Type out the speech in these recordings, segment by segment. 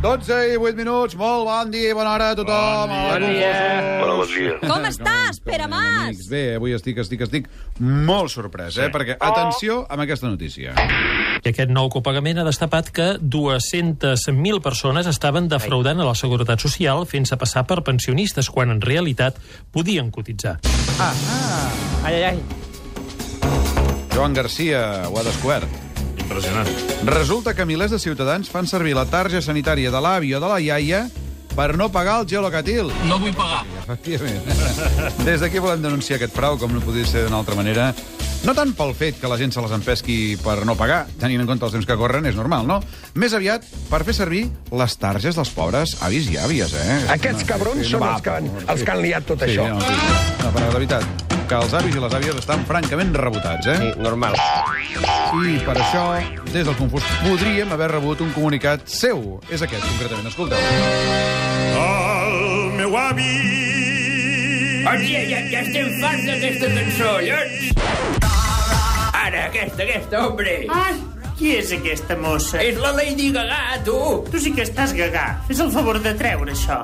12 i 8 minuts. Molt bon dia i bona hora a tothom. Bon dia. Hola, Hola, Confusos. bon dia. Com estàs, Pere Mas? Amics, Bé, avui estic, estic, estic molt sorprès, eh? Perquè, atenció amb aquesta notícia. I aquest nou copagament ha destapat que 200.000 persones estaven defraudant a la Seguretat Social fent-se passar per pensionistes quan en realitat podien cotitzar. Ai, ai, ai. Joan Garcia ho ha descobert. Impressionant. Resulta que milers de ciutadans fan servir la tarja sanitària de l'avi o de la iaia per no pagar el geolocatil. No vull pagar. Efectivament. Des d'aquí volem denunciar aquest frau, com no podia ser d'una altra manera. No tant pel fet que la gent se les empesqui per no pagar, tenint en compte els temps que corren, és normal, no? Més aviat per fer servir les targes dels pobres avis i àvies, eh? Aquests cabrons són els que han- els que han liat tot sí, això. No, sí. no, però la veritat, que els avis i les àvies estan francament rebotats, eh? Sí, normal. I per això, des del Confús, podríem haver rebut un comunicat seu. És aquest, concretament. Escolteu. El meu avi... Hòstia, ja, ja estem farts d'aquesta cançó, llocs! Ara, aquesta, aquesta, hombre! Ai, qui és aquesta mossa? Eh. És la Lady Gaga, tu! Tu sí que estàs gagà. Fes el favor de treure això.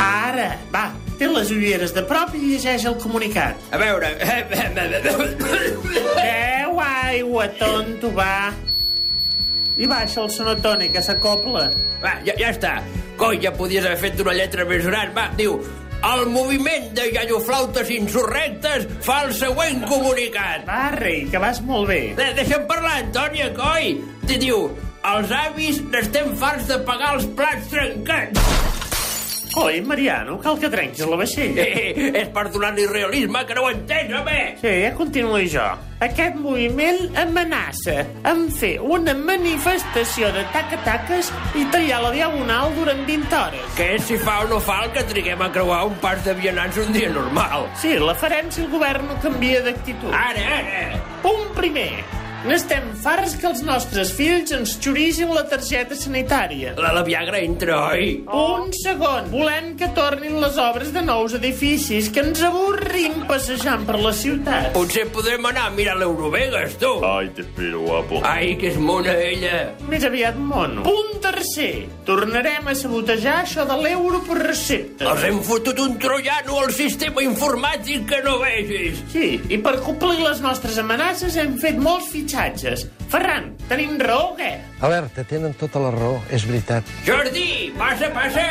Ara, va, té les ulleres de prop i llegeix el comunicat. A veure... eh, Beu aigua, tonto, va. I baixa el sonotone, que s'acopla. Va, ja, ja està. Coi, ja podies haver fet una lletra més gran. Va, diu... El moviment de ialloflautes insurrectes fa el següent comunicat. Va, rei, que vas molt bé. De Deixa'm parlar, Antònia, coi! Te diu, els avis n'estem farts de pagar els plats trencats. Coi, Mariano, cal que trenquis la vaixella. Eh, és per donar-li realisme, que no ho entens, home! Sí, ja continuo jo. Aquest moviment amenaça amb fer una manifestació de taca-taques i tallar la diagonal durant 20 hores. Què és si fa o no fa el que triguem a creuar un pas de vianants un dia normal? Sí, la farem si el govern no canvia d'actitud. Ara, ara! Punt primer. N'estem farts que els nostres fills ens xurigin la targeta sanitària. La, la Viagra entra, oi? Un segon. Volem que tornin les obres de nous edificis, que ens avorrim passejant per la ciutat. Potser podrem anar a mirar l'Eurovegas, tu! Ai, t'espero, guapo. Ai, que és mona, ella! Més aviat mono. Punt tercer. Tornarem a sabotejar això de l'euro per recepta. Els hem fotut un troiano al sistema informàtic que no vegis! Sí, i per complir les nostres amenaces hem fet molts fitxatges. Ferran, tenim raó o què? Albert, te tenen tota la raó, és veritat. Jordi, passa, passa!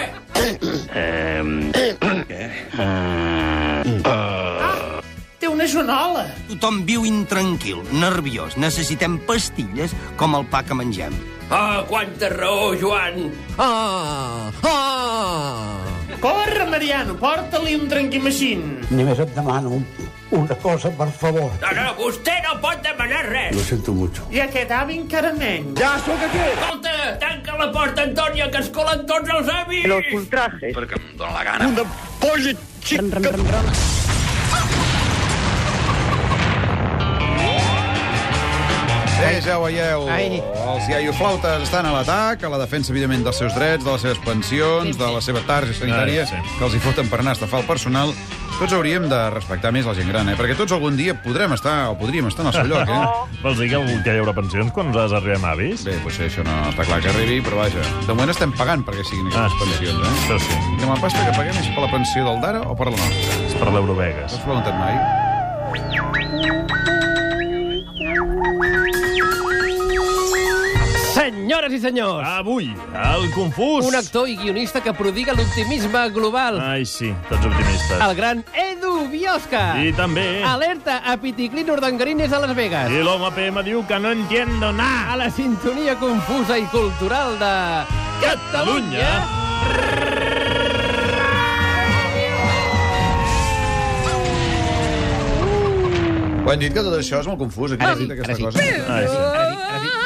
Té una jonola. Tothom viu intranquil, nerviós. Necessitem pastilles com el pa que mengem. Ah, quanta raó, Joan! Ah! Ah! Corre, Mariano, porta-li un tranquimaixín. Només et demano un- una cosa, per favor. No, no, vostè no pot demanar res! siento mucho. I aquest avi encara menys. Ja sóc aquí! Escolta, tanca la porta, Antònia, que es colen tots els avis! ultrajes. Perquè em dóna la gana. Una polla xica! Eh, ja ho veieu. Ai. Els iaioflautes estan a l'atac, a la defensa, evidentment, dels seus drets, de les seves pensions, de la seva tarja sanitària, Ai, sí. que els hi foten per anar a estafar el personal. Tots hauríem de respectar més la gent gran, eh? Perquè tots algun dia podrem estar, o podríem estar en el seu lloc, eh? Vols dir que, que hi haurà pensions quan nosaltres arribem avis? Bé, potser això no està clar que arribi, però vaja. De moment estem pagant perquè siguin Ah, aquestes pensions, eh? Això sí, I la pasta que paguem és per la pensió del Dara o per la nostra? és per l'Eurovegas. T'has preguntat mai? Senyores i Oh, senyors, Avui, el Confús. un actor i guionista que prodiga l'optimisme global. Ai, sí, tots optimistes. El gran Edu Biosca. I també... Alerta a piticlinos d'engarines a Las Vegas. I l'home PM diu que no entiendo A nada. la sintonia confusa i cultural de... Catalunya. Ho han dit que tot això és molt confús. Aquí Ara has sí, dit aquesta ara sí. cosa. Ai, sí. Ara dic, ara dic. Ah,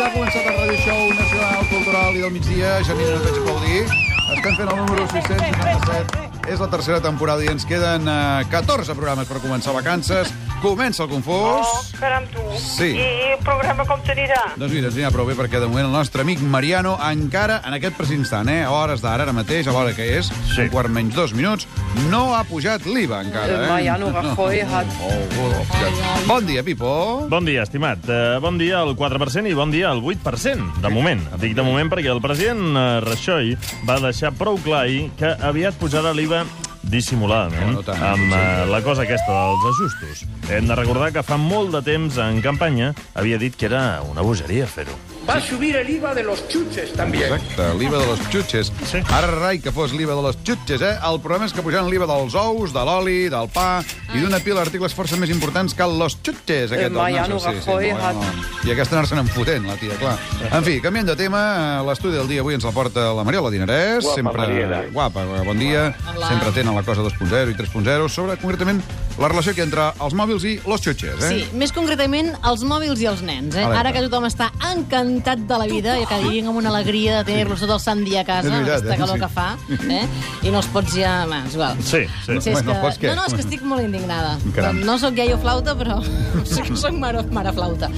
Ja ha començat el Radio Show Nacional Cultural i del migdia. Janina, no et vaig aplaudir. Estan fent el número 677. És la tercera temporada i ens queden eh, 14 programes per començar vacances. Comença el confús. Oh, caram, tu. Sí. I, I el programa com t'anirà? Doncs mira, ens anirà prou bé perquè de moment el nostre amic Mariano encara en aquest precís instant, eh, a hores d'ara, ara mateix, a l'hora que és, sí. un quart menys dos minuts, no ha pujat l'IVA encara. Eh? Mariano Rajoy no. hat- Oh, oh, oh. Bon dia, Pipo. Bon dia, estimat. Eh, Bon dia al 4% i bon dia al 8%, de moment. Dic de moment perquè el president eh, Rajoy va deixar prou clar ahir que aviat posarà l'IVA dissimuladament no, amb eh, la cosa aquesta dels ajustos. Hem de recordar que fa molt de temps en campanya havia dit que era una bogeria fer-ho. Va a subir el IVA de los chuches también. Exacte, l'IVA de les xutxes. Sí. Ara, rai, que fos l'IVA de les xutxes, eh? El problema és que pujant l'IVA dels ous, de l'oli, del pa i d'una pila d'articles força més importants que los xutxes, Eh, aquest del Mariano Nacho. Rajoy molt, hat- molt. I aquesta anar-se'n enfotent, la tia, clar. En fi, canviant de tema, eh, l'estudi del dia avui ens la porta la Mariola Dinarès. Guapa, sempre Mariela. Guapa, eh, bon dia. Hola. Sempre atent a la cosa 2.0 i 3.0, sobre, concretament, la relació que hi ha entre els mòbils i los xutxes, eh? Sí, més concretament els mòbils i els nens. Eh? Alerta. Ara que tothom està encantat de la vida i que vivim amb una alegria de tenir-los tot el sant dia a casa, És veritat, aquesta eh? calor Sí. que fa, eh? i no els pots ja... Va, és igual. Sí, sí. No, sé, és Bueno, que... pots què? no, no, és que estic molt indignada. Caram. No sóc iaio flauta, però sí que sóc mare, mare flauta.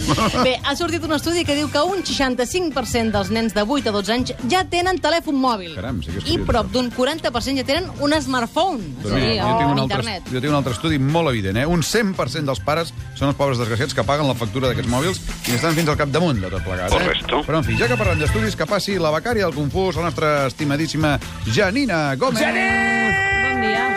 Bé, ha sortit un estudi que diu que un 65% dels nens de 8 a 12 anys ja tenen telèfon mòbil. Caram, sí que és I curiós, prop d'un 40% ja tenen un smartphone. Doncs mira, jo, tinc un o altre, internet. jo tinc un altre estudi molt evident, eh? Un 100% dels pares són els pobres desgraciats que paguen la factura d'aquests mòbils i estan fins al capdamunt de tot plegat, eh? Correcto. Però, en fi, ja que parlem d'estudis, que passi la becària del confús, la nostra estimadíssima Janina Gómez. Janine! Bon dia.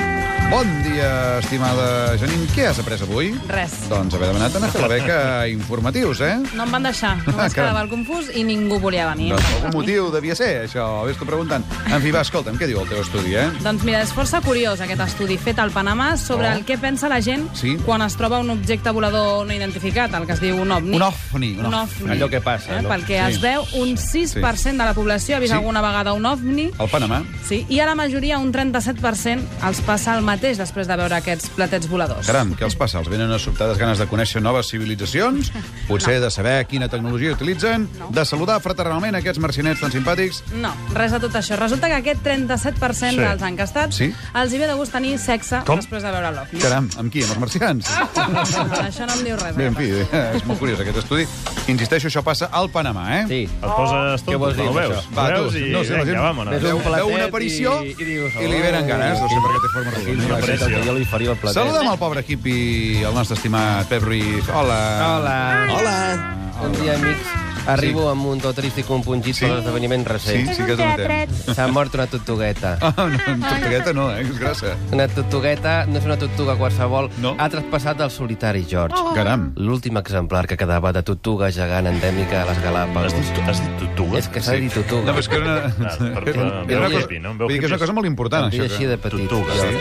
Bon dia, estimada Janine. Què has après avui? Res. Doncs haver demanat anar a fer la beca a informatius, eh? No em van deixar. No Ah, vaig quedar caram. al confús i ningú volia venir. Doncs algun motiu devia ser, això. Vés tu preguntant. En fi, va, escolta'm, què diu el teu estudi, eh? Doncs mira, és força curiós aquest estudi fet al Panamà sobre el que pensa la gent Oh. Sí. quan es troba un objecte volador no identificat, el que es diu un ovni. Un ovni. Un ovni. Allò que passa, Eh? allò. Pel que Sí. es veu, un 6% de la població ha vist Sí. alguna vegada un ovni. Al Panamà. Sí, i a la majoria, un 37%, els passa el mateix després de veure aquests platets voladors. Caram, què els passa? Els venen unes sobtades ganes de conèixer noves civilitzacions? Potser de saber quina tecnologia utilitzen? De saludar fraternalment aquests marcinets tan simpàtics? No, res de tot això. Resulta que aquest 37% Sí. dels encastats Sí. els hi ve de gust tenir sexe Com? després de veure l'ovni. Caram, amb qui? Amb els marcians? Això Ah, no em diu res. eh? Bé, en fi, eh, és molt curiós aquest estudi. Insisteixo, això passa al Panamà, eh? Sí. Et poses tonto, Què vols dir, no ho veus? això? Va, Ho tu, veus i no sé, la vinga, gent vámonos. veu- Ves un veu platet una aparició i- i, i dius, li venen oh, ganes, no sé per què té forma quina rodona. Sí, pressió. sí, sí. Jo li faria el platet. Saluda'm el pobre hippie, el nostre estimat Pep Ruiz. Hola. Hola. Hola. Bon dia, amics. Arribo sí. amb un to trist i compungit sí. per l'esdeveniment recent. Sí, sí que És un t'ho entenc. teatret. S'ha mort una tortugueta. Ah, no, una tortugueta no, eh? És grassa. Una tortugueta no és una tortuga qualsevol. No. Ha traspassat el solitari George. Oh. Caram. L'últim exemplar que quedava de tortuga gegant endèmica a les Galàpagos. Has dit, has dit tortuga? És que s'ha dit eh? tortuga. No, però és que era una... Era una cosa, vull dir que és una cosa molt important, Em això. deia així de petit. Tortuga,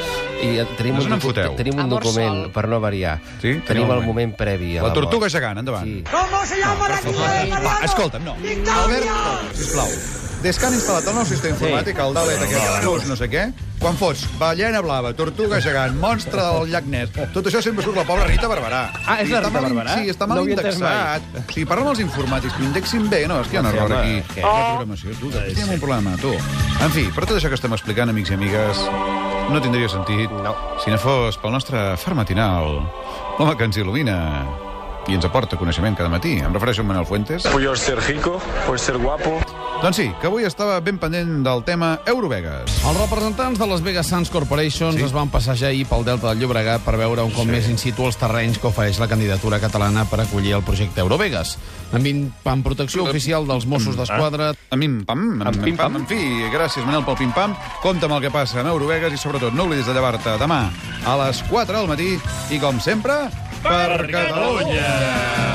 I tenim No se un, n'enfoteu. tenim un Amor document, sol. per no variar. Sí? Tenim el moment previ a la, La tortuga mort. gegant, endavant. Sí. ¿Cómo se llama la tía de Mariano? Va, escolta'm, no. Albert, sisplau. Des que han instal·lat el nou sistema informàtic, el Dalet aquest, Plus, no sé què, quan fots ballena blava, tortuga gegant, monstre del llac Ness, tot això sempre surt la pobra Rita Barberà. Ah, és la Està Rita mal in- Barberà? Sí, està mal No ho havia entès indexat. O sigui, parla amb els informàtics, que ho indexin bé. No, és que hi ha un Sí, error home, aquí. què? La programació, tu, aquí hi ha un problema, tu. En fi, per tot això que estem explicant, amics i amigues, no tindria sentit si no fos pel nostre far matinal, l'home que ens il·lumina i ens aporta coneixement cada matí. Em refereixo a en Manel Fuentes. Puedo ser rico, puedo ser guapo. Doncs sí, que avui estava ben pendent del tema Eurovegas. Els representants de Las Vegas Sands Corporations sí. es van passejar ahir pel Delta del Llobregat per veure un cop sí. més in situ els terrenys que ofereix la candidatura catalana per acollir el projecte Eurovegas. Amb, in, amb protecció oficial dels Mossos d'Esquadra... Amb pim-pam. Amb pim-pam. En fi, gràcies, Manel, pel pim-pam. Compte amb el que passa en Eurovegas i, sobretot, no oblidis de llevar-te demà a les 4 del matí i, com sempre, per, per Catalunya! Catalunya!